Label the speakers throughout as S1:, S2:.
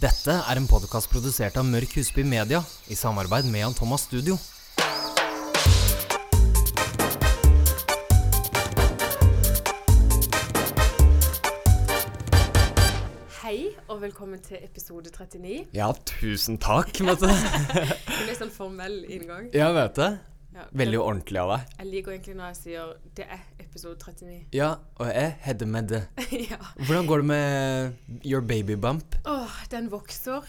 S1: Dette er en podkast produsert av Mørk Husby Media i samarbeid med Jan Thomas Studio.
S2: Hei, og velkommen til episode 39.
S1: Ja, tusen takk, Mette.
S2: Det er litt sånn formell inngang.
S1: Jeg vet det.
S2: Ja.
S1: Veldig ordentlig av deg.
S2: Jeg liker egentlig når jeg sier det er episode 39.
S1: Ja, og jeg heter med det.
S2: ja.
S1: Hvordan går det med your baby bump?
S2: Åh, den vokser,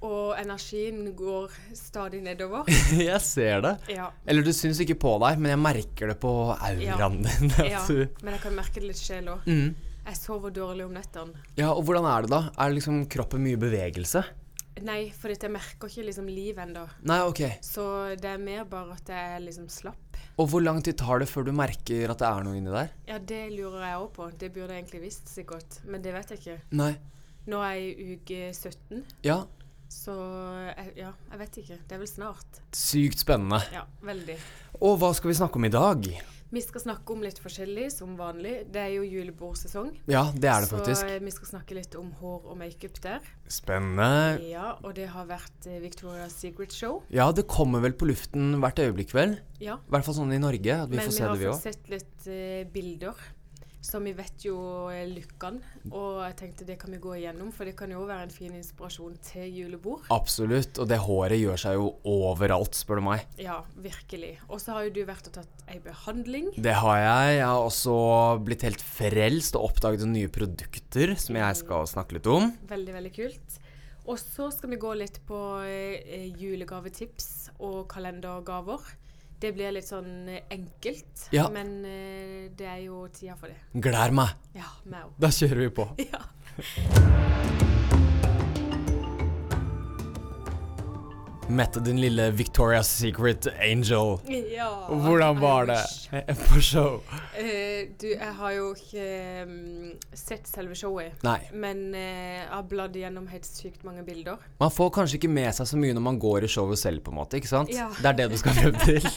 S2: og energien går stadig nedover.
S1: jeg ser det.
S2: Ja.
S1: Eller du syns ikke på deg, men jeg merker det på auraen din. at
S2: ja.
S1: du-
S2: Men jeg kan merke det litt sjel òg.
S1: Mm.
S2: Jeg sover dårlig om nettene.
S1: Ja, og hvordan er det da? Er det liksom kroppen mye i bevegelse?
S2: Nei, for jeg merker ikke liksom liv ennå.
S1: Nei, ok.
S2: Så det er mer bare at jeg er liksom slapp.
S1: Og hvor lang tid tar det før du merker at det er noe inni der?
S2: Ja, det lurer jeg òg på. Det burde jeg egentlig visst sikkert, men det vet jeg ikke.
S1: Nei.
S2: Nå er jeg i uke 17.
S1: Ja,
S2: Så jeg, ja, jeg vet ikke. Det er vel snart.
S1: sykt spennende.
S2: Ja, veldig.
S1: Og hva skal vi snakke om i dag?
S2: Vi skal snakke om litt forskjellig, som vanlig. Det er jo julebordsesong.
S1: Ja, det er det
S2: så
S1: faktisk.
S2: eh, vi skal snakke litt om hår og makeup der.
S1: Spennende.
S2: Ja, og det har vært eh, Victoria's Secret Show.
S1: Ja, det kommer vel på luften hvert øyeblikk, vel?
S2: Ja.
S1: I hvert fall sånn i Norge, at vi
S2: Men
S1: får
S2: vi
S1: se
S2: har
S1: det, vi
S2: fått
S1: òg.
S2: sett litt eh, bilder, så vi vet jo eh, lookene. Og jeg tenkte det kan vi gå igjennom, for det kan jo være en fin inspirasjon til julebord.
S1: Absolutt. Og det håret gjør seg jo overalt, spør du meg.
S2: Ja, virkelig. Og så har jo du vært og tatt ei behandling.
S1: Det har jeg. Jeg har også blitt helt frelst og oppdaget nye produkter som jeg skal snakke litt om.
S2: Veldig, veldig kult. Og så skal vi gå litt på eh, julegavetips og kalendergaver. Det blir litt sånn eh, enkelt,
S1: Ja.
S2: men eh, det er jo tida for det.
S1: Gleder meg!
S2: Ja, meg òg.
S1: Da kjører vi på.
S2: Ja.
S1: Mette, din lille Victoria's Secret Angel.
S2: ja.
S1: Hvordan
S2: I
S1: var det
S2: wish.
S1: på show?
S2: Eh, du, jeg har jo ikke mm, sett selve showet.
S1: Nei.
S2: Men eh, jeg har bladd gjennom helt sykt mange bilder.
S1: Man får kanskje ikke med seg så mye når man går i showet selv, på en måte. ikke sant?
S2: Ja.
S1: Det er det du skal frem til.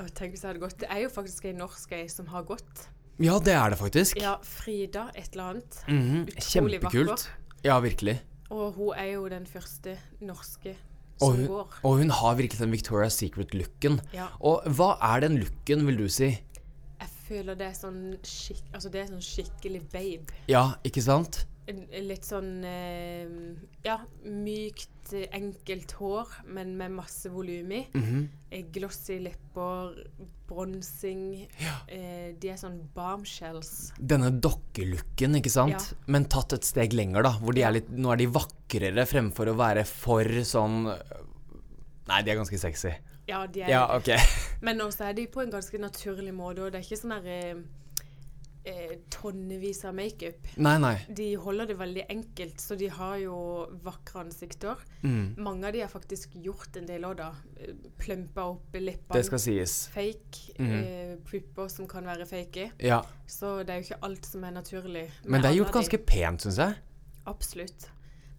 S2: Og tenk hvis jeg hadde gått. Det er jo faktisk ei norsk ei som har gått.
S1: Ja, det er det faktisk.
S2: Ja, Frida et eller annet.
S1: Mhm,
S2: Utrolig
S1: Kjempekult.
S2: vakker.
S1: Ja, virkelig.
S2: Og hun er jo den første norske
S1: Og
S2: som
S1: hun-
S2: går.
S1: Og hun har virkelig den Victoria's Secret-looken.
S2: Ja.
S1: Og hva er den looken, vil du si?
S2: Jeg føler det er sånn, skikk, altså det er sånn skikkelig babe.
S1: Ja, ikke sant?
S2: En- en Litt sånn eh, ja, mykt, eh, enkelt hår, men med masse volum i.
S1: Mhm.
S2: Eh, Glossy lepper, bronsing. Eh, de er sånn bombshells.
S1: Denne dokkelooken, ikke sant?
S2: Ja.
S1: Men tatt et steg lenger, da. Hvor de er litt, nå er de vakrere fremfor å være for sånn øh, Nei, de er ganske sexy.
S2: Ja, de er
S1: Ja, ok.
S2: Men også er de på en ganske naturlig måte, og det er ikke sånn der eh, eh, tonnevis av makeup.
S1: Nei, nei.
S2: De holder det veldig enkelt, så de har jo vakre ansikter.
S1: Mm.
S2: Mange av de har faktisk gjort en del òg, da. Eh, Plumpa opp leppene.
S1: Det skal sies.
S2: Fake.
S1: Mhm.
S2: Eh, pupper som kan være fake.
S1: Ja.
S2: Så det er jo ikke alt som er naturlig. med
S1: Men det er
S2: alle
S1: gjort
S2: av de.
S1: ganske Mm. pent, syns jeg.
S2: Absolutt.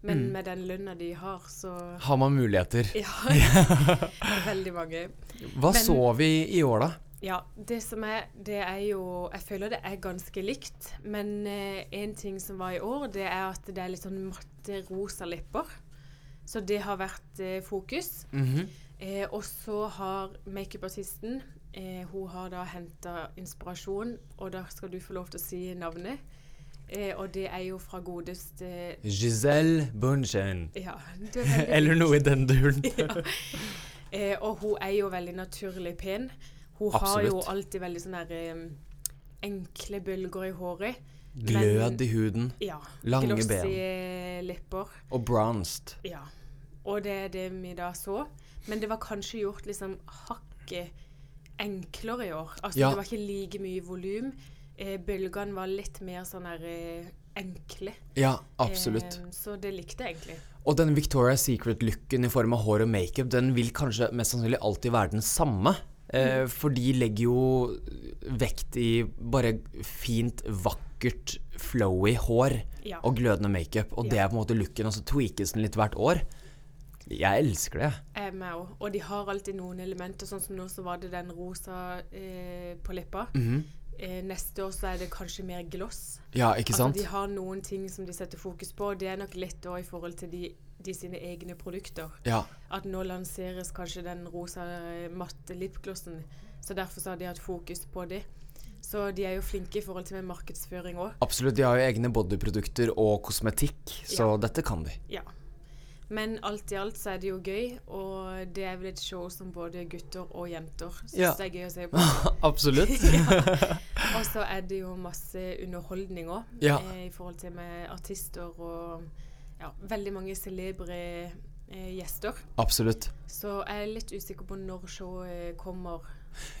S2: Men med den lønna de har, så
S1: Har man muligheter.
S2: Ja. veldig mange.
S1: Hva
S2: Men-
S1: så vi i år, da?
S2: Ja, det som er, det er jo Jeg føler det er ganske likt, men én ting som var i år, det er at det er litt sånn matte rosa lepper. Så det har vært eh, fokus.
S1: Mhm.
S2: Eh, og så har makeupartisten eh, Hun har da henta inspirasjon, og da skal du få lov til å si navnet. Eh, og det er jo fra godeste
S1: Giselle Bunchen.
S2: Ja, du er veldig
S1: Eller noe i den duren.
S2: Eh, og hun er jo veldig naturlig pen. Hun har jo
S1: Absolutt.
S2: alltid veldig sånne der, eh, enkle bølger i håret.
S1: Glød i huden
S2: Ja.
S1: Lange
S2: glossy lepper.
S1: og bronzed.
S2: Ja. Og det er det vi da så. Men det var kanskje gjort liksom hakket enklere i år. Altså
S1: Ja.
S2: det var ikke like mye volum. Eh, bølgene var litt mer sånn der eh, enkle.
S1: Ja, absolutt.
S2: Eh, så det likte jeg egentlig.
S1: Og den Victoria's Secret-looken i form av hår og makeup, den vil kanskje mest sannsynlig alltid være den samme. Eh,
S2: Mm.
S1: For de legger jo vekt i bare fint, vakkert, flowy hår
S2: Ja.
S1: og glødende makeup. Og det
S2: Ja.
S1: er på en måte looken, og så tweakes den litt hvert år. Jeg elsker det.
S2: Jeg er med også. Og de har alltid noen elementer, sånn som nå så var det den rosa eh, på eh, leppa. eh, neste år så er det kanskje mer gloss.
S1: Ja, Mhm. ikke sant?
S2: Altså, de har noen ting som de setter fokus på. og Det er nok litt òg i forhold til de, de sine egne produkter.
S1: Ja.
S2: At nå lanseres kanskje den rosa eh, matte lipglossen. Så derfor så har de hatt fokus på det. Så de er jo flinke i forhold til med markedsføring òg.
S1: Absolutt. De har jo egne bodyprodukter og kosmetikk, så dette kan de.
S2: Ja. Men alt i alt så er det jo gøy, og det er vel et show som både gutter og jenter syns
S1: Ja.
S2: det er gøy å se på.
S1: Absolutt.
S2: Og så er det jo masse underholdning òg,
S1: Ja.
S2: eh, i forhold til med artister og ja, veldig mange celebre eh, gjester.
S1: Absolutt.
S2: Så jeg er litt usikker på når showet kommer.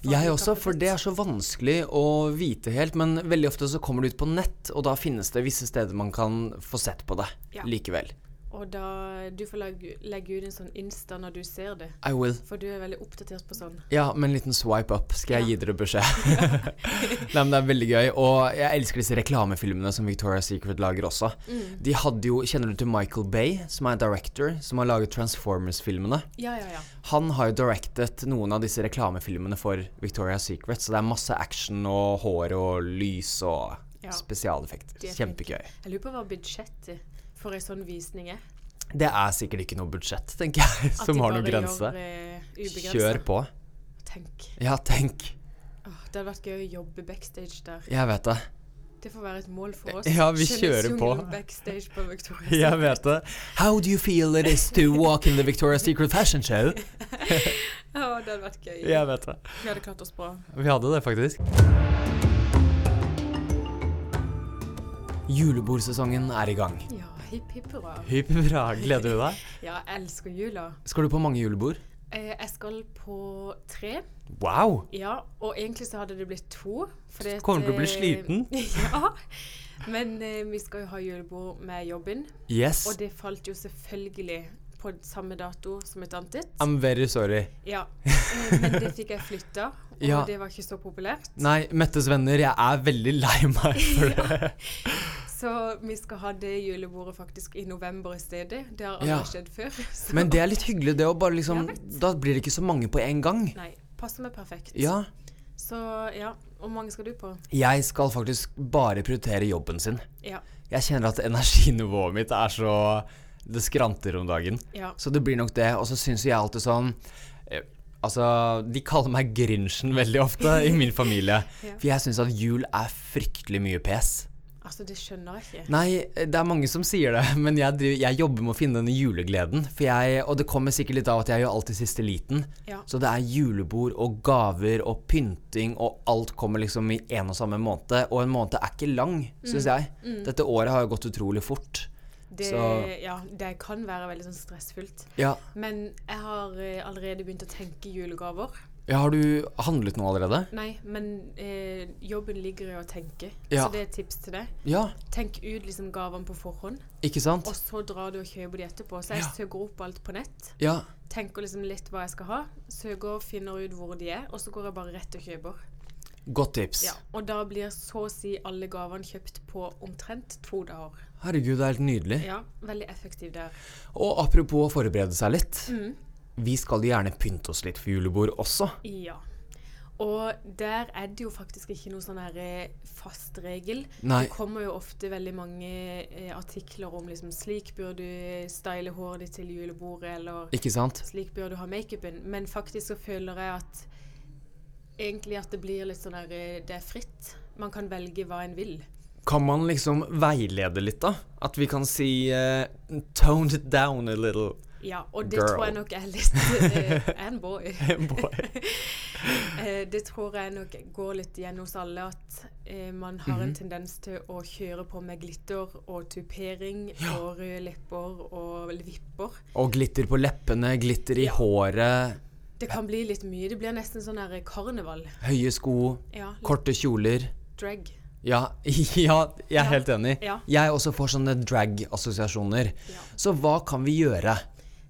S1: Jeg også, for det er så vanskelig å vite helt. Men veldig ofte så kommer det ut på nett, og da finnes det visse steder man kan få sett på det
S2: Ja.
S1: likevel.
S2: Og da du får legge, legge ut en sånn Insta når du ser det,
S1: I will.
S2: for du er veldig oppdatert på sånn.
S1: Ja, med en liten swipe up skal jeg gi dere beskjed. Nei, men Det er veldig gøy. Og jeg elsker disse reklamefilmene som Victoria's Secret lager også. De hadde jo, Kjenner du til Michael Bay, som er en director, som har laget Transformers-filmene?
S2: Ja, ja, ja.
S1: Han har jo directet noen av disse reklamefilmene for Victoria's Secret, så det er masse action og hår og lys og
S2: Ja.
S1: spesialeffekter.
S2: De er
S1: Kjempegøy.
S2: Jeg lurer på hva budsjettet for en sånn visning er.
S1: Det er sikkert ikke noe budsjett, tenker jeg,
S2: At
S1: som
S2: de
S1: har noen
S2: bare
S1: grense.
S2: Gjør, eh,
S1: Kjør
S2: ubegrenset.
S1: på.
S2: Tenk.
S1: Ja, tenk.
S2: Åh, det hadde vært gøy å jobbe backstage der.
S1: Jeg vet det.
S2: Det får være et mål for oss.
S1: Ja, vi
S2: Skjønnes
S1: kjører på.
S2: jungelen backstage på Victoria.
S1: Jeg vet det. How do you feel it is to walk in the Victoria's Secret Fashion Show?
S2: Åh, det hadde vært gøy.
S1: Jeg vet det.
S2: Vi hadde klart oss bra.
S1: Vi hadde det, faktisk. Julebordsesongen er i gang.
S2: Ja, hipp hipp hurra.
S1: Hypp hurra. Gleder du deg?
S2: Ja, jeg elsker jula.
S1: Skal du på mange julebord?
S2: Eh, jeg skal på tre.
S1: Wow!
S2: Ja, og egentlig så hadde det blitt to. fordi at,
S1: Kommer du til å bli
S2: eh,
S1: sliten?
S2: ja. Men eh, vi skal jo ha julebord med jobben,
S1: Yes.
S2: og det falt jo selvfølgelig på samme dato som et annet.
S1: I'm very sorry.
S2: Ja, eh, men det fikk jeg flytta, og
S1: Ja.
S2: det var ikke så populært.
S1: Nei, Mettes venner, jeg er veldig lei meg for det.
S2: Så vi skal ha det julebordet faktisk i november i stedet. Det har aldri
S1: Ja.
S2: skjedd før. Så.
S1: Men det er litt hyggelig, det å bare liksom
S2: Jeg vet.
S1: Da blir det ikke så mange på en gang.
S2: Nei, passer meg perfekt.
S1: Ja.
S2: Så ja, hvor mange skal du på?
S1: Jeg skal faktisk bare prioritere jobben sin.
S2: Ja.
S1: Jeg kjenner at energinivået mitt er så Det skranter om dagen.
S2: ja.
S1: Så det blir nok det. Og så syns jo jeg alltid sånn eh, Altså, de kaller meg Grinchen veldig ofte i min familie.
S2: Ja.
S1: For jeg syns at jul er fryktelig mye pes.
S2: Altså, det skjønner jeg ikke.
S1: Nei, det er mange som sier det, men jeg, driver, jeg jobber med å finne denne julegleden. For jeg, og det kommer sikkert litt av at jeg gjør alt i siste liten.
S2: Ja.
S1: Så det er julebord og gaver og pynting, og alt kommer liksom i en og samme måned. Og en måned er ikke lang,
S2: Mm.
S1: syns jeg. Dette året har jo gått utrolig fort.
S2: Det,
S1: Så-
S2: ja, det kan være veldig sånn stressfullt.
S1: Ja.
S2: Men jeg har eh, allerede begynt å tenke julegaver.
S1: ja, har du handlet noe allerede?
S2: Nei, men eh, jobben ligger i å tenke,
S1: Ja.
S2: så det er et tips til deg.
S1: Ja,
S2: Tenk ut liksom gavene på forhånd,
S1: ikke sant?
S2: og så drar du og kjøper de etterpå. Så jeg
S1: Ja.
S2: søker opp alt på nett.
S1: Ja.
S2: Tenker liksom litt hva jeg skal ha, søker og finner ut hvor de er, og så går jeg bare rett og kjøper.
S1: Godt tips.
S2: Ja, og da blir så å si alle gavene kjøpt på omtrent to dager.
S1: Herregud, det er helt nydelig.
S2: Ja, veldig effektiv der.
S1: Og apropos å forberede seg litt.
S2: Mm.
S1: Vi skal jo gjerne pynte oss litt for julebord også.
S2: Ja. Og der er det jo faktisk ikke noe sånn her eh, fast regel.
S1: Nei.
S2: Det kommer jo ofte veldig mange eh, artikler om liksom slik bør du style håret ditt til julebordet, eller
S1: Ikke sant?
S2: slik bør du ha makeupen. Men faktisk så føler jeg at egentlig at det blir litt sånn her eh, Det er fritt. Man kan velge hva en vil.
S1: Kan man liksom veilede litt, da? At vi kan si eh, Tone it down a little,
S2: Ja, og det
S1: Girl.
S2: tror jeg nok er litt eh, And boy.
S1: boy.
S2: Eh, det tror jeg nok går litt igjen hos alle, at eh, man har en tendens til å kjøre på med glitter og tupering og røde lepper og vipper.
S1: Og glitter på leppene, glitter i
S2: Ja.
S1: håret,
S2: Det kan bli litt mye. Det blir nesten sånn her karneval.
S1: høye sko,
S2: Ja, litt
S1: korte kjoler.
S2: drag.
S1: Ja, ja jeg er helt enig.
S2: Ja.
S1: Jeg også får sånne drag-assosiasjoner.
S2: Ja.
S1: Så hva kan vi gjøre?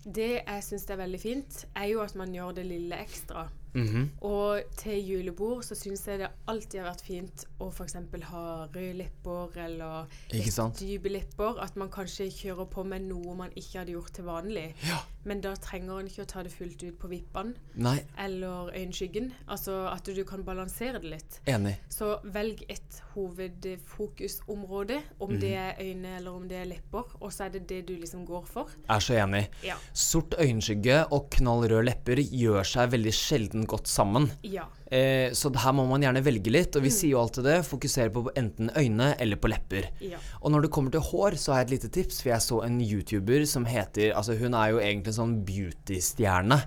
S2: Det jeg syns er veldig fint, er jo at man gjør det lille ekstra.
S1: Mhm.
S2: Og til julebord så syns jeg det alltid har vært fint å f.eks. ha røde lepper eller
S1: Ikke sant?
S2: dype lepper. At man kanskje kjører på med noe man ikke hadde gjort til vanlig.
S1: Ja.
S2: Men da trenger en ikke å ta det fullt ut på vippene
S1: Nei,
S2: eller øyenskyggen. Altså at du kan balansere det litt.
S1: enig.
S2: Så velg et hovedfokusområde, om det
S1: Mhm.
S2: er øyne eller om det er lepper, og så er det det du liksom går for.
S1: Er så enig.
S2: Ja.
S1: Sort øyenskygge og knallrøde lepper gjør seg veldig sjelden godt sammen.
S2: Ja.
S1: Eh, så det her må man gjerne velge litt, og vi sier jo alltid det. Fokusere på enten øyne eller på lepper.
S2: Ja.
S1: Og når det kommer til hår, så har jeg et lite tips, for jeg så en YouTuber som heter Altså, hun er jo egentlig en sånn beauty-stjerne.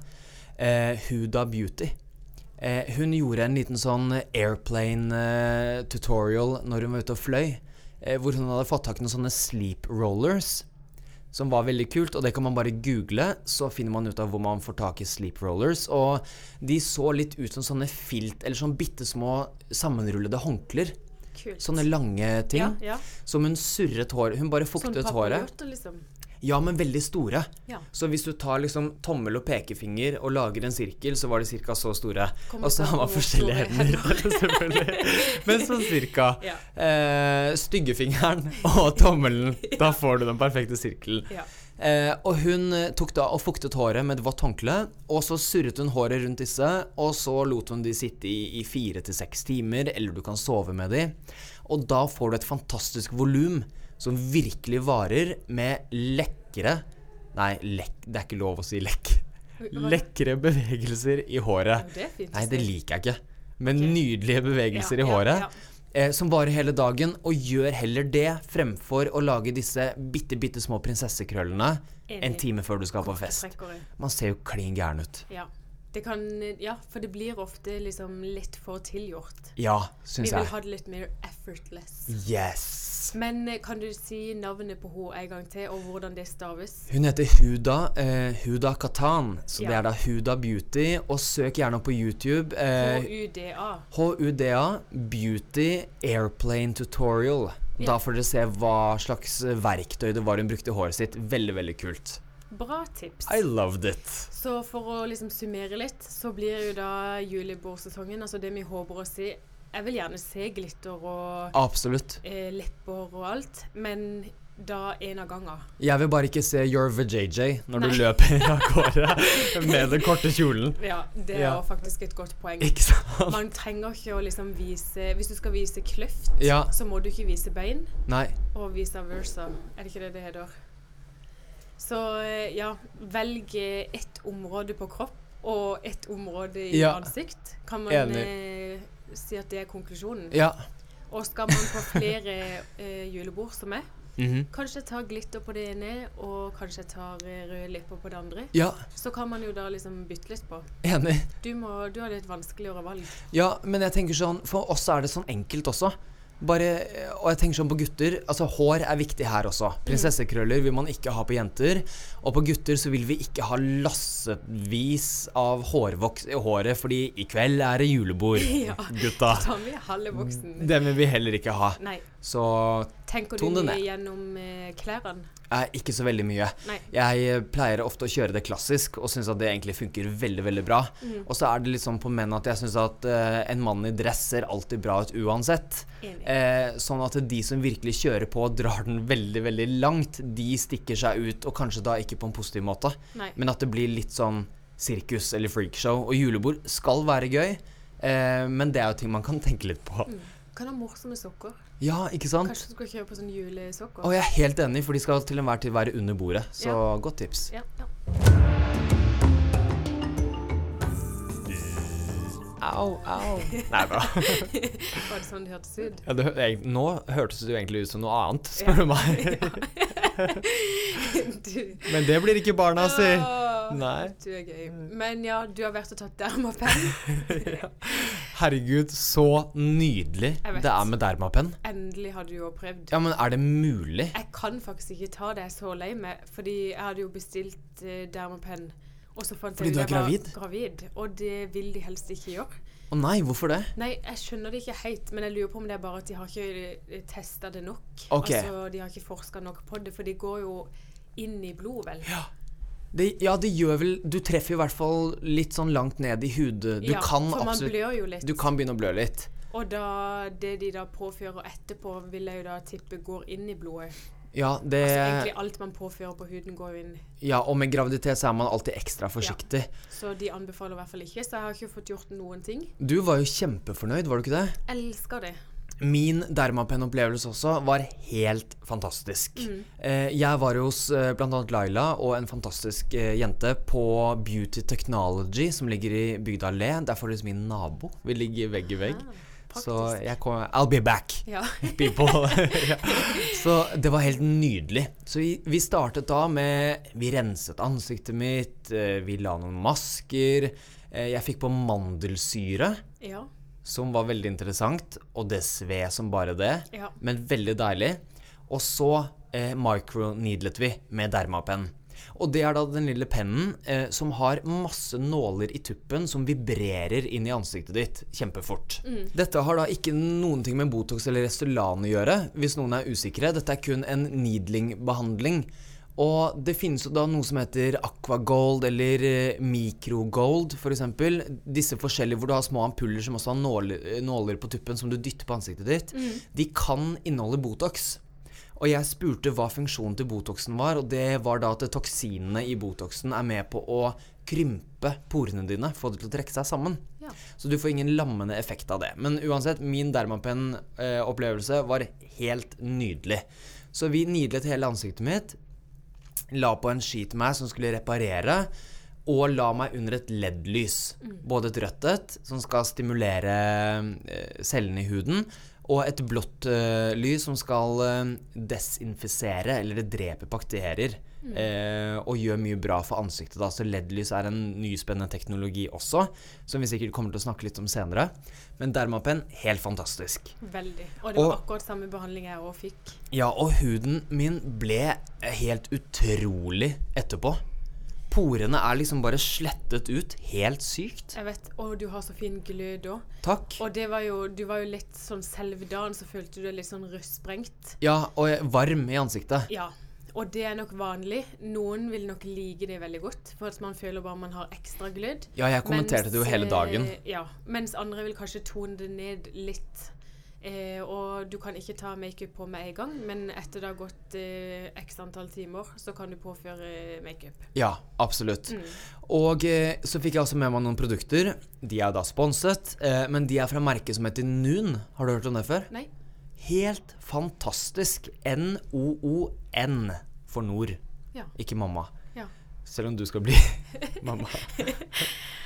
S1: Eh, Huda Beauty. Eh, hun gjorde en liten sånn airplane-tutorial når hun var ute og fløy, eh, hvor hun hadde fått tak i noen sånne sleep rollers. Som var veldig kult, og det kan man bare google, så finner man ut av hvor man får tak i sleep rollers. Og de så litt ut som sånne filt, eller sånn bitte små sammenrullede håndklær.
S2: Kult.
S1: Sånne lange ting.
S2: ja, ja.
S1: Som hun surret hår Hun bare
S2: Sånn
S1: fuktet håret.
S2: papiljotter, liksom.
S1: Ja, men veldig store.
S2: Ja.
S1: Så hvis du tar liksom tommel og pekefinger og lager en sirkel, så var de ca. så store.
S2: Kommer
S1: Og så
S2: til
S1: har man
S2: hvor
S1: forskjellige
S2: store
S1: hender, selvfølgelig. Men sånn cirka.
S2: Ja.
S1: Eh, styggefingeren og tommelen. Da får du den perfekte sirkelen.
S2: Ja.
S1: Eh, og hun eh, tok da og fuktet håret med et vått håndkle, og så surret hun håret rundt disse, og så lot hun de sitte i, i fire til seks timer, eller du kan sove med de. Og da får du et fantastisk volum som virkelig varer, med lekre Nei, lekk, det er ikke lov å si lekk.
S2: Hva-
S1: Lekre bevegelser i håret.
S2: Jo, det er fint å
S1: Nei, det
S2: si.
S1: liker jeg ikke. Men nydelige bevegelser i
S2: Ja, ja,
S1: håret.
S2: ja.
S1: Eh, som varer hele dagen, og gjør heller det fremfor å lage disse bitte, bitte små prinsessekrøllene
S2: Enig.
S1: en time før du skal på fest.
S2: Trekkere.
S1: Man ser jo klin gæren ut.
S2: Ja. Det kan, ja, for det blir ofte liksom litt for tilgjort.
S1: Ja,
S2: Vi
S1: syns
S2: vil
S1: jeg.
S2: ha det litt mer effortless.
S1: Yes.
S2: Men eh, kan du si navnet på henne en gang til, og hvordan det staves?
S1: Hun heter Huda, eh, Huda Katan, så det
S2: Ja.
S1: er da Huda Beauty. Og søk gjerne opp på YouTube. Eh,
S2: H-U-D-A.
S1: HUDA Beauty Airplane Tutorial. Da
S2: Ja.
S1: får dere se hva slags eh, verktøy det var hun brukte i håret sitt. Veldig, veldig kult.
S2: Bra tips.
S1: I loved it.
S2: Så for å liksom summere litt, så blir jo da julebordsesongen, altså det vi håper å si Jeg vil gjerne se glitter og
S1: Absolutt.
S2: eh, lepper og alt, men da en av gangen.
S1: Jeg vil bare ikke se Your VJJ når
S2: Nei.
S1: du løper av gårde med den korte kjolen.
S2: Ja, det er
S1: Ja.
S2: jo faktisk et godt poeng.
S1: Ikke sant?
S2: Man trenger ikke å liksom vise Hvis du skal vise kløft,
S1: Ja.
S2: så må du ikke vise bein,
S1: Nei.
S2: og vice versa. Er det ikke det det heter? Så eh, ja, velg eh, ett område på kropp og ett område i
S1: Ja.
S2: ansikt. Kan man
S1: Enig.
S2: eh, si at det er konklusjonen?
S1: Ja.
S2: Og skal man på flere eh, julebord som meg, kanskje jeg tar glitter på det ene, og kanskje jeg tar eh, røde lepper på det andre.
S1: Ja,
S2: Så kan man jo da liksom bytte litt på.
S1: enig.
S2: Du, må, du hadde et vanskeligere valg.
S1: Ja, men jeg tenker sånn For oss er det sånn enkelt også. Bare, og jeg tenker sånn på gutter Altså, hår er viktig her også.
S2: Mm.
S1: Prinsessekrøller vil man ikke ha på jenter. Og på gutter så vil vi ikke ha lassevis av hårvoks i håret, fordi i kveld er det julebord,
S2: Ja.
S1: gutta.
S2: Ta med halve voksen.
S1: Den vil vi heller ikke ha.
S2: Nei.
S1: Så
S2: Tenker du
S1: Ton det
S2: mye
S1: ned.
S2: gjennom eh, klærne?
S1: Eh, ikke så veldig mye.
S2: Nei.
S1: Jeg eh, pleier ofte å kjøre det klassisk og syns at det egentlig funker veldig veldig bra.
S2: Mm.
S1: Og så er det litt sånn på menn at jeg syns at eh, en mann i dress ser alltid bra ut uansett.
S2: Enig.
S1: Eh, sånn at de som virkelig kjører på og drar den veldig veldig langt, de stikker seg ut, og kanskje da ikke på en positiv måte,
S2: Nei.
S1: men at det blir litt sånn sirkus eller freakshow. Og julebord skal være gøy, eh, men det er jo ting man kan tenke litt på.
S2: Kan ha morsomme sokker.
S1: Ja, ikke sant?
S2: Mm. Kanskje du skal kjøpe sånn julesokker?
S1: Og jeg er helt enig, for de skal til enhver tid være under bordet. Så godt tips.
S2: ja. ja.
S1: Au, au. Nei, bra.
S2: Var det sånn det hørtes ut?
S1: Ja, det, hø- jeg, nå hørtes det jo egentlig ut som noe annet, spør du meg.
S2: Du,
S1: Men det blir ikke barna si.
S2: Åh,
S1: Nei. Mm.
S2: du er gøy. Men ja, du har vært og tatt derm og penn.
S1: Herregud, så nydelig
S2: Jeg vet.
S1: det er med dermapenn.
S2: Endelig har du jo prøvd.
S1: Ja, men er det mulig?
S2: Jeg kan faktisk ikke ta det jeg er så lei meg, fordi jeg hadde jo bestilt eh, derm og penn. Og så fant
S1: Fordi
S2: jeg
S1: du er
S2: ut jeg var
S1: gravid?
S2: gravid, og det vil de helst ikke gjøre.
S1: Å nei, hvorfor det?
S2: Nei, jeg skjønner det ikke helt, men jeg lurer på om det er bare at de har ikke testa det nok.
S1: Ok.
S2: Altså, De har ikke forska nok på det, for de går jo inn i blodet, vel.
S1: Ja. Det, ja, det gjør vel Du treffer i hvert fall litt sånn langt ned i hudet. Du
S2: ja,
S1: kan
S2: for man
S1: absolutt
S2: blør jo litt.
S1: Du kan begynne å blø litt.
S2: Og da, det de da påfører etterpå, vil jeg jo da tippe går inn i blodet.
S1: Ja, det
S2: Så Altså, egentlig alt man påfører på huden, går jo inn.
S1: Ja, og med graviditet så er man alltid ekstra forsiktig.
S2: Så de anbefaler i hvert fall ikke. Så jeg har ikke fått gjort noen ting.
S1: Du var jo kjempefornøyd, var du ikke det?
S2: Elsker det.
S1: Min Dermapen-opplevelse også var helt fantastisk. Eh, Jeg var hos eh, blant annet Laila og en fantastisk eh, jente på Beauty Technology, som ligger i Bygda Le. Det er faktisk min nabo. Vi ligger vegg i vegg.
S2: Ah,
S1: så
S2: praktisk.
S1: jeg kommer I'll be back.
S2: Ja.
S1: people. ja. Så det var helt nydelig. Så vi, vi startet da med Vi renset ansiktet mitt, eh, vi la noen masker. eh, Jeg fikk på mandelsyre,
S2: Ja.
S1: som var veldig interessant, og det sved som bare det,
S2: Ja.
S1: men veldig deilig. Og så eh, microneedlet vi med dermapenn. Og det er da den lille pennen eh, som har masse nåler i tuppen som vibrerer inn i ansiktet ditt kjempefort. Dette har da ikke noen ting med Botox eller Restylane å gjøre, hvis noen er usikre. Dette er kun en needling-behandling. Og det finnes jo da noe som heter aquagold eller eh, microgold f.eks. Disse forskjellige hvor du har små ampuller som også har nåler, nåler på tuppen som du dytter på ansiktet ditt. De kan inneholde Botox. Og jeg spurte hva funksjonen til Botoxen var, og det var da at toksinene i Botoxen er med på å krympe porene dine, få det til å trekke seg sammen.
S2: Ja.
S1: Så du får ingen lammende effekt av det. Men uansett, min Dermapen-opplevelse var helt nydelig. Så vi nidlet hele ansiktet mitt, la på en sheet mask som skulle reparere, og la meg under et LED-lys. Både et rødt et, som skal stimulere eh, cellene i huden, og et blått eh, lys som skal eh, desinfisere, eller drepe bakterier. Eh, og gjør mye bra for ansiktet. Da. Så LED-lys er en ny spennende teknologi også, som vi sikkert kommer til å snakke litt om senere. Men Dermapen, helt fantastisk.
S2: Veldig. Og det var
S1: Og-
S2: akkurat samme behandling jeg òg fikk.
S1: Ja, og huden min ble helt utrolig etterpå. Porene er liksom bare slettet ut. Helt sykt.
S2: Jeg vet, Å, du har så fin glød òg.
S1: Takk.
S2: Og det var jo, du var jo litt sånn selve dagen, så følte du deg litt sånn rustsprengt.
S1: Ja, og jeg- varm i ansiktet.
S2: Ja. Og det er nok vanlig. Noen vil nok like det veldig godt, for at man føler bare man har ekstra glød.
S1: Ja, jeg kommenterte det jo
S2: Mens,
S1: hele dagen.
S2: eh, Ja, mens andre vil kanskje tone det ned litt. Eh, og du kan ikke ta makeup på med en gang, men etter det har gått eh, x antall timer, så kan du påføre makeup.
S1: Ja, absolutt. Og eh, så fikk jeg også med meg noen produkter. De er da sponset, eh, men de er fra merket som heter Noon. Har du hørt om det før?
S2: Nei?
S1: Helt fantastisk. N-O-O-N for Nord,
S2: Ja.
S1: ikke mamma.
S2: Ja.
S1: Selv om du skal bli mamma.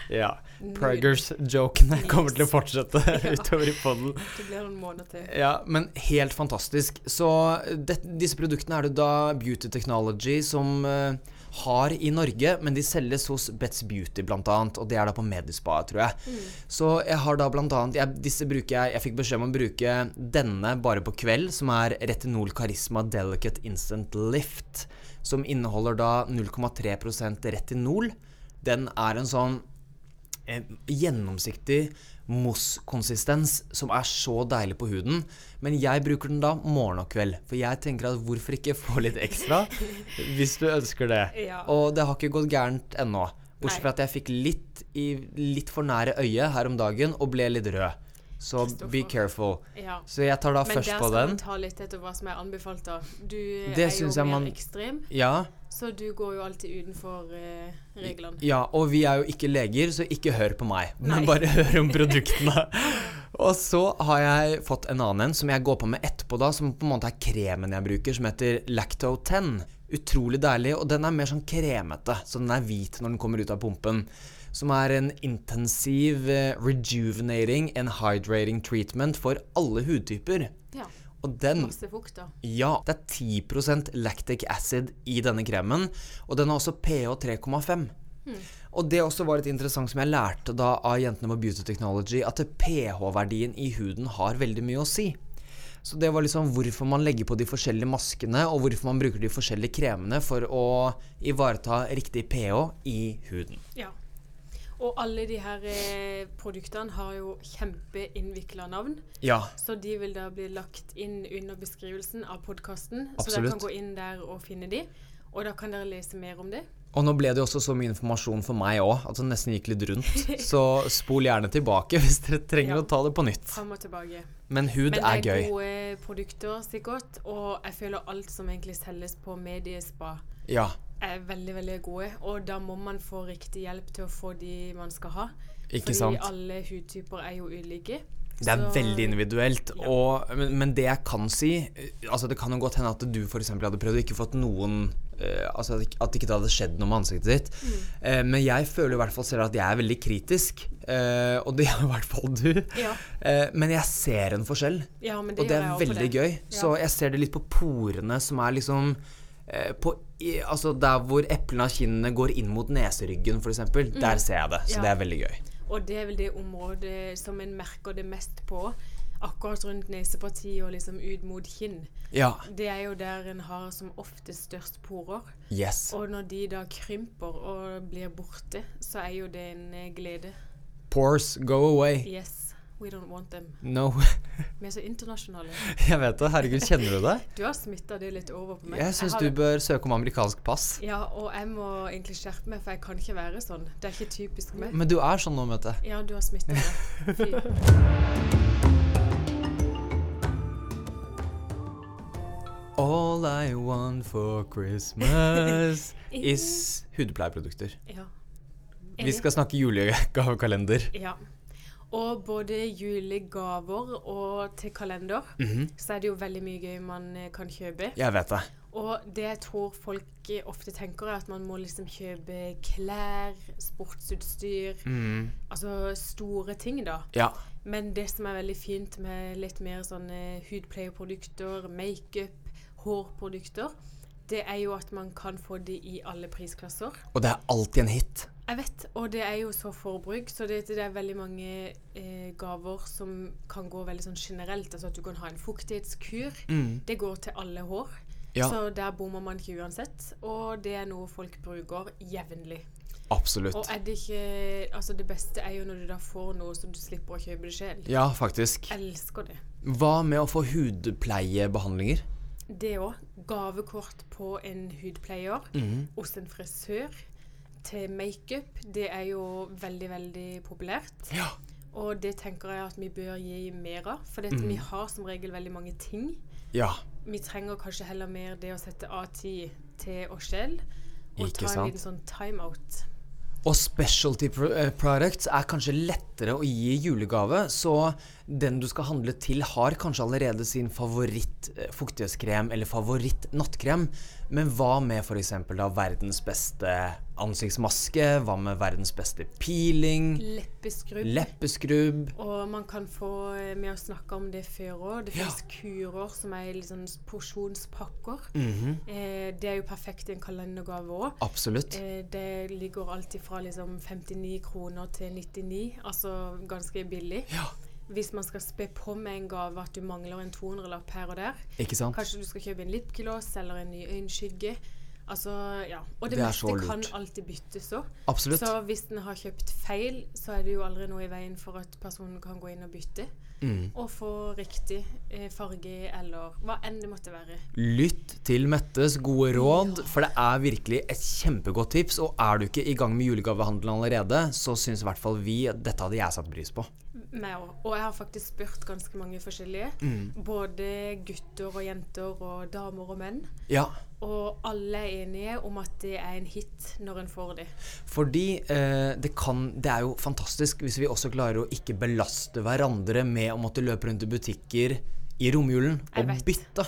S1: ja.
S2: Nyd.
S1: Preggers-jokene kommer til å
S2: Yes.
S1: fortsette utover i poden.
S2: Det blir noen måneder til.
S1: Ja, men helt fantastisk. Så det, disse produktene er det da Beauty Technology som eh, har i Norge, men de selges hos Betz Beauty bl.a., og det er da på Medispa, tror jeg. Så jeg har da bl.a. Jeg, disse bruker jeg Jeg fikk beskjed om å bruke denne bare på kveld, som er Retinol Karisma Delicate Instant Lift, som inneholder da 0,3 retinol. Den er en sånn eh, gjennomsiktig mosskonsistens som er så deilig på huden. Men jeg bruker den da morgen og kveld, for jeg tenker at hvorfor ikke få litt ekstra hvis du ønsker det.
S2: Ja.
S1: Eh, Og det har ikke gått gærent ennå. Bortsett
S2: Nei.
S1: fra at jeg fikk litt, i, litt for nære øyet her om dagen og ble litt rød. Så be
S2: Kristoffer.
S1: careful.
S2: Ja.
S1: Så jeg tar da
S2: Men altså der
S1: først på
S2: skal
S1: den.
S2: man ta litt etter hva som er anbefalt, da. Du
S1: Det
S2: er jo
S1: synes jeg
S2: mer
S1: man-
S2: ekstrem,
S1: Ja,
S2: så du går jo alltid utenfor eh, reglene.
S1: ja, og vi er jo ikke leger, så ikke hør på meg. Men
S2: Nei.
S1: bare hør om produktene. og så har jeg fått en annen en som jeg går på med etterpå, da, som på en måte er kremen jeg bruker, som heter Lacto 10. Utrolig deilig, og den er mer sånn kremete, så den er hvit når den kommer ut av pumpen. Som er en intensiv eh, rejuvenating and hydrating treatment for alle hudtyper.
S2: Ja.
S1: Og den
S2: Masse fukt, da.
S1: ja, det er 10 lactic acid i denne kremen, og den har også pH 3,5.
S2: Hmm.
S1: Og det også var litt interessant som jeg lærte da av jentene på Beauty Technology, at pH-verdien i huden har veldig mye å si. Så det var liksom hvorfor man legger på de forskjellige maskene, og hvorfor man bruker de forskjellige kremene for å ivareta riktig pH i huden.
S2: Ja. Og alle de her eh, produktene har jo kjempeinnvikla navn,
S1: Ja,
S2: så de vil da bli lagt inn under beskrivelsen av podkasten. Så dere
S1: Absolutt.
S2: kan gå inn der og finne de, og da kan dere lese mer om det.
S1: Og nå ble det jo også så mye informasjon for meg òg at det nesten gikk litt rundt. Så spol gjerne tilbake hvis dere trenger
S2: Ja.
S1: å ta det på nytt.
S2: Fram og tilbake.
S1: Men hud
S2: Men det
S1: er
S2: er
S1: gøy.
S2: gode produkter, sikkert. Og jeg føler alt som egentlig selges på mediespa,
S1: Ja.
S2: er veldig, veldig gode. Og da må man få riktig hjelp til å få de man skal ha.
S1: Ikke
S2: Fordi
S1: sant?
S2: alle hudtyper er jo ulike.
S1: Det er
S2: Så-
S1: veldig individuelt.
S2: Ja.
S1: Og, men, men det jeg kan si eh, altså Det kan jo godt hende at du for eksempel hadde prøvd og ikke fått noen eh, Altså at ikke- at ikke det hadde skjedd noe med ansiktet ditt.
S2: Mm.
S1: Eh, men jeg føler i hvert fall selv at jeg er veldig kritisk. eh, og det er i hvert fall du.
S2: Ja.
S1: Eh, men jeg ser en forskjell,
S2: Ja, men det
S1: og det er
S2: gjør jeg også på
S1: veldig
S2: det.
S1: gøy. Så jeg ser det litt på porene som er liksom eh, på, i, altså Der hvor eplene av kinnene går inn mot neseryggen, f.eks. eksempel Der ser jeg det. Så
S2: Mm. Ja.
S1: det er veldig gøy.
S2: Og det er vel det området som en merker det mest på. Akkurat rundt nesepartiet og liksom ut mot kinn.
S1: Ja.
S2: Det er jo der en har som oftest størst porer.
S1: Yes.
S2: Og når de da krymper og blir borte, så er jo det en eh, glede.
S1: Pores, go away.
S2: Yes, we don't want them.
S1: No.
S2: Vi er så internasjonale.
S1: Jeg vet det. Herregud, kjenner du det?
S2: Du har smitta det litt over på meg.
S1: Jeg syns
S2: har
S1: du
S2: det-
S1: bør søke om amerikansk pass.
S2: Ja, og jeg må egentlig skjerpe meg, for jeg kan ikke være sånn. Det er ikke typisk meg.
S1: Men du er sånn nå, Mette.
S2: Ja, du har smitta meg. Fy.
S1: All I want for Christmas is hudpleieprodukter.
S2: Ja.
S1: Vi skal snakke julegavekalender.
S2: Ja. Og både julegaver og til kalender,
S1: Mhm.
S2: så er det jo veldig mye gøy man eh, kan kjøpe.
S1: Jeg vet det.
S2: Og det jeg tror folk eh, ofte tenker, er at man må liksom kjøpe klær, sportsutstyr,
S1: Mm.
S2: altså store ting, da.
S1: Ja.
S2: Men det som er veldig fint med litt mer sånne hudpleieprodukter, makeup, hårprodukter, det er jo at man kan få de i alle prisklasser.
S1: Og det er alltid en hit.
S2: Jeg vet, og det er jo så forbruk, så det, det er veldig mange eh, gaver som kan gå veldig sånn generelt. Altså at du kan ha en fuktighetskur. Det går til alle hår.
S1: Mm. Ja.
S2: Så der bommer man ikke uansett. Og det er noe folk bruker jevnlig. Og
S1: Absolutt.
S2: er det ikke Altså, det beste er jo når du da får noe som du slipper å kjøpe det sjøl.
S1: Ja, faktisk.
S2: Jeg elsker det.
S1: Hva med å få hudpleiebehandlinger?
S2: Det òg. Gavekort på en hudpleier,
S1: Mhm.
S2: hos en frisør, til makeup. Det er jo veldig, veldig populært.
S1: Ja.
S2: Og det tenker jeg at vi bør gi mer av. For dette,
S1: Mhm.
S2: vi har som regel veldig mange ting.
S1: Ja.
S2: Vi trenger kanskje heller mer det å sette av tid til oss selv. Og
S1: Ikke
S2: ta en
S1: sant?
S2: liten sånn timeout.
S1: Og specialty pro eh, products er kanskje lettere å gi i julegave, så den du skal handle til har kanskje allerede sin favoritt eh, fuktighetskrem eller favoritt nattkrem. Men hva med f.eks. da verdens beste ansiktsmaske? Hva med verdens beste peeling?
S2: Leppeskrubb.
S1: Leppeskrubb?
S2: og man kan få eh, med å snakke om det før òg. Det finnes kurer som er i litt sånn porsjonspakker.
S1: Mhm.
S2: eh, det er jo perfekt i en kalendergave òg.
S1: Absolutt.
S2: Eh, det ligger alltid fra liksom 59 kroner til 99, altså ganske billig.
S1: Ja,
S2: Hvis man skal spe på med en gave at du mangler en 200-lapp her og der,
S1: ikke sant?
S2: kanskje du skal kjøpe en lipgloss eller en ny øyenskygge. Altså, ja. Og det,
S1: Det er så
S2: meste
S1: lurt.
S2: kan alltid byttes òg.
S1: Absolutt.
S2: Så hvis en har kjøpt feil, så er det jo aldri noe i veien for at personen kan gå inn og bytte.
S1: Mm.
S2: Og få riktig eh, farge eller hva enn det måtte være.
S1: Lytt til Mettes gode råd, for det er virkelig et kjempegodt tips. Og er du ikke i gang med julegavehandelen allerede, så syns i hvert fall vi at dette hadde jeg satt pris på.
S2: Meg òg. Og jeg har faktisk spurt ganske mange forskjellige.
S1: Mm.
S2: Både gutter og jenter og damer og menn.
S1: Ja,
S2: Og alle er enige om at det er en hit når en får det.
S1: fordi eh, det, kan, det er jo fantastisk hvis vi også klarer å ikke belaste hverandre med å måtte løpe rundt i butikker i romjulen
S2: Jeg
S1: og
S2: vet.
S1: bytte.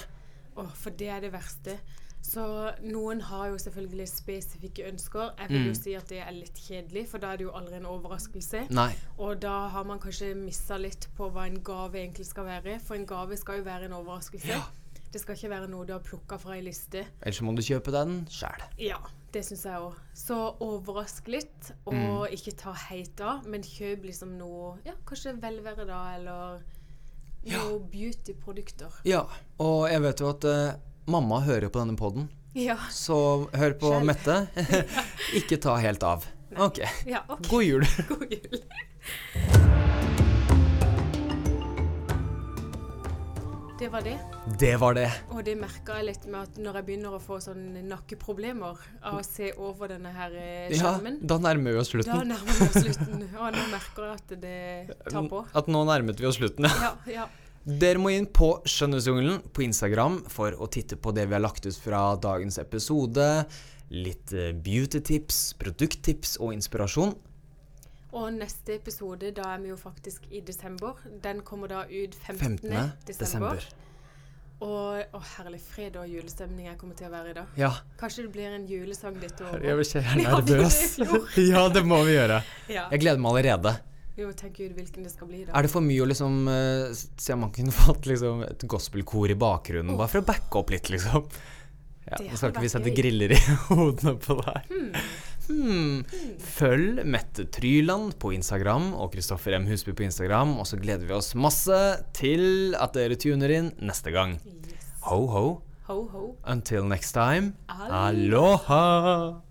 S2: Åh, for det er det verste. Så noen har jo selvfølgelig spesifikke ønsker. Jeg vil
S1: Mm.
S2: jo si at det er litt kjedelig, for da er det jo aldri en overraskelse.
S1: Nei.
S2: Og da har man kanskje missa litt på hva en gave egentlig skal være. For en gave skal jo være en overraskelse.
S1: Ja.
S2: Det skal ikke være noe du har plukka fra ei liste.
S1: Ellers må du kjøpe den sjæl.
S2: Ja, det syns jeg òg. Så overrask litt, og
S1: Mm.
S2: ikke ta heit av, men kjøp liksom noe ja, Kanskje velvære, da, eller
S1: Ja.
S2: noe beauty-produkter.
S1: Ja, og jeg vet jo at eh, mamma hører på denne poden,
S2: Ja.
S1: så hør på
S2: Skjell.
S1: Mette. ikke ta helt av. Ok.
S2: ja. OK,
S1: God jul.
S2: god jul. Det var det.
S1: Det var det.
S2: Og det merka jeg litt med at når jeg begynner å få sånne nakkeproblemer av å se over denne her eh,
S1: Ja,
S2: skjermen,
S1: da nærmer vi oss
S2: da
S1: slutten.
S2: nærmer vi oss slutten. Og nå merker jeg at det tar på.
S1: At nå nærmet vi oss slutten, ja.
S2: Ja, ja.
S1: Dere må inn på Skjønnhetsjungelen på Instagram for å titte på det vi har lagt ut fra dagens episode. Litt eh, beauty-tips, produkttips og inspirasjon.
S2: Og neste episode, da er vi jo faktisk i desember. Den kommer da ut 15.
S1: 15.
S2: desember.
S1: desember.
S2: Og å, herlig fred og julestemning jeg kommer til å være i da.
S1: Ja.
S2: Kanskje det blir en julesang ditt år.
S1: Jeg blir
S2: Vi
S1: ikke
S2: hadde jo
S1: nervøs.
S2: det i fjor.
S1: Ja, det må vi gjøre.
S2: Ja.
S1: Jeg gleder meg allerede.
S2: Jo, tenk Gud hvilken det skal bli da.
S1: Er det for mye å liksom eh, Se om man kunne fått liksom, et gospelkor i bakgrunnen, bare for å backe opp litt, liksom. Ja,
S2: Det
S1: nå skal ikke
S2: hadde
S1: vi
S2: vært
S1: sette
S2: gøy.
S1: griller i hodene på deg. Hmm. Følg Mette Tryland på Instagram og Kristoffer M. Husby på Instagram, og så gleder vi oss masse til at dere tuner inn neste gang.
S2: Yes.
S1: Ho, ho.
S2: Ho, ho.
S1: Until next time.
S2: Aloha.
S1: Aloha.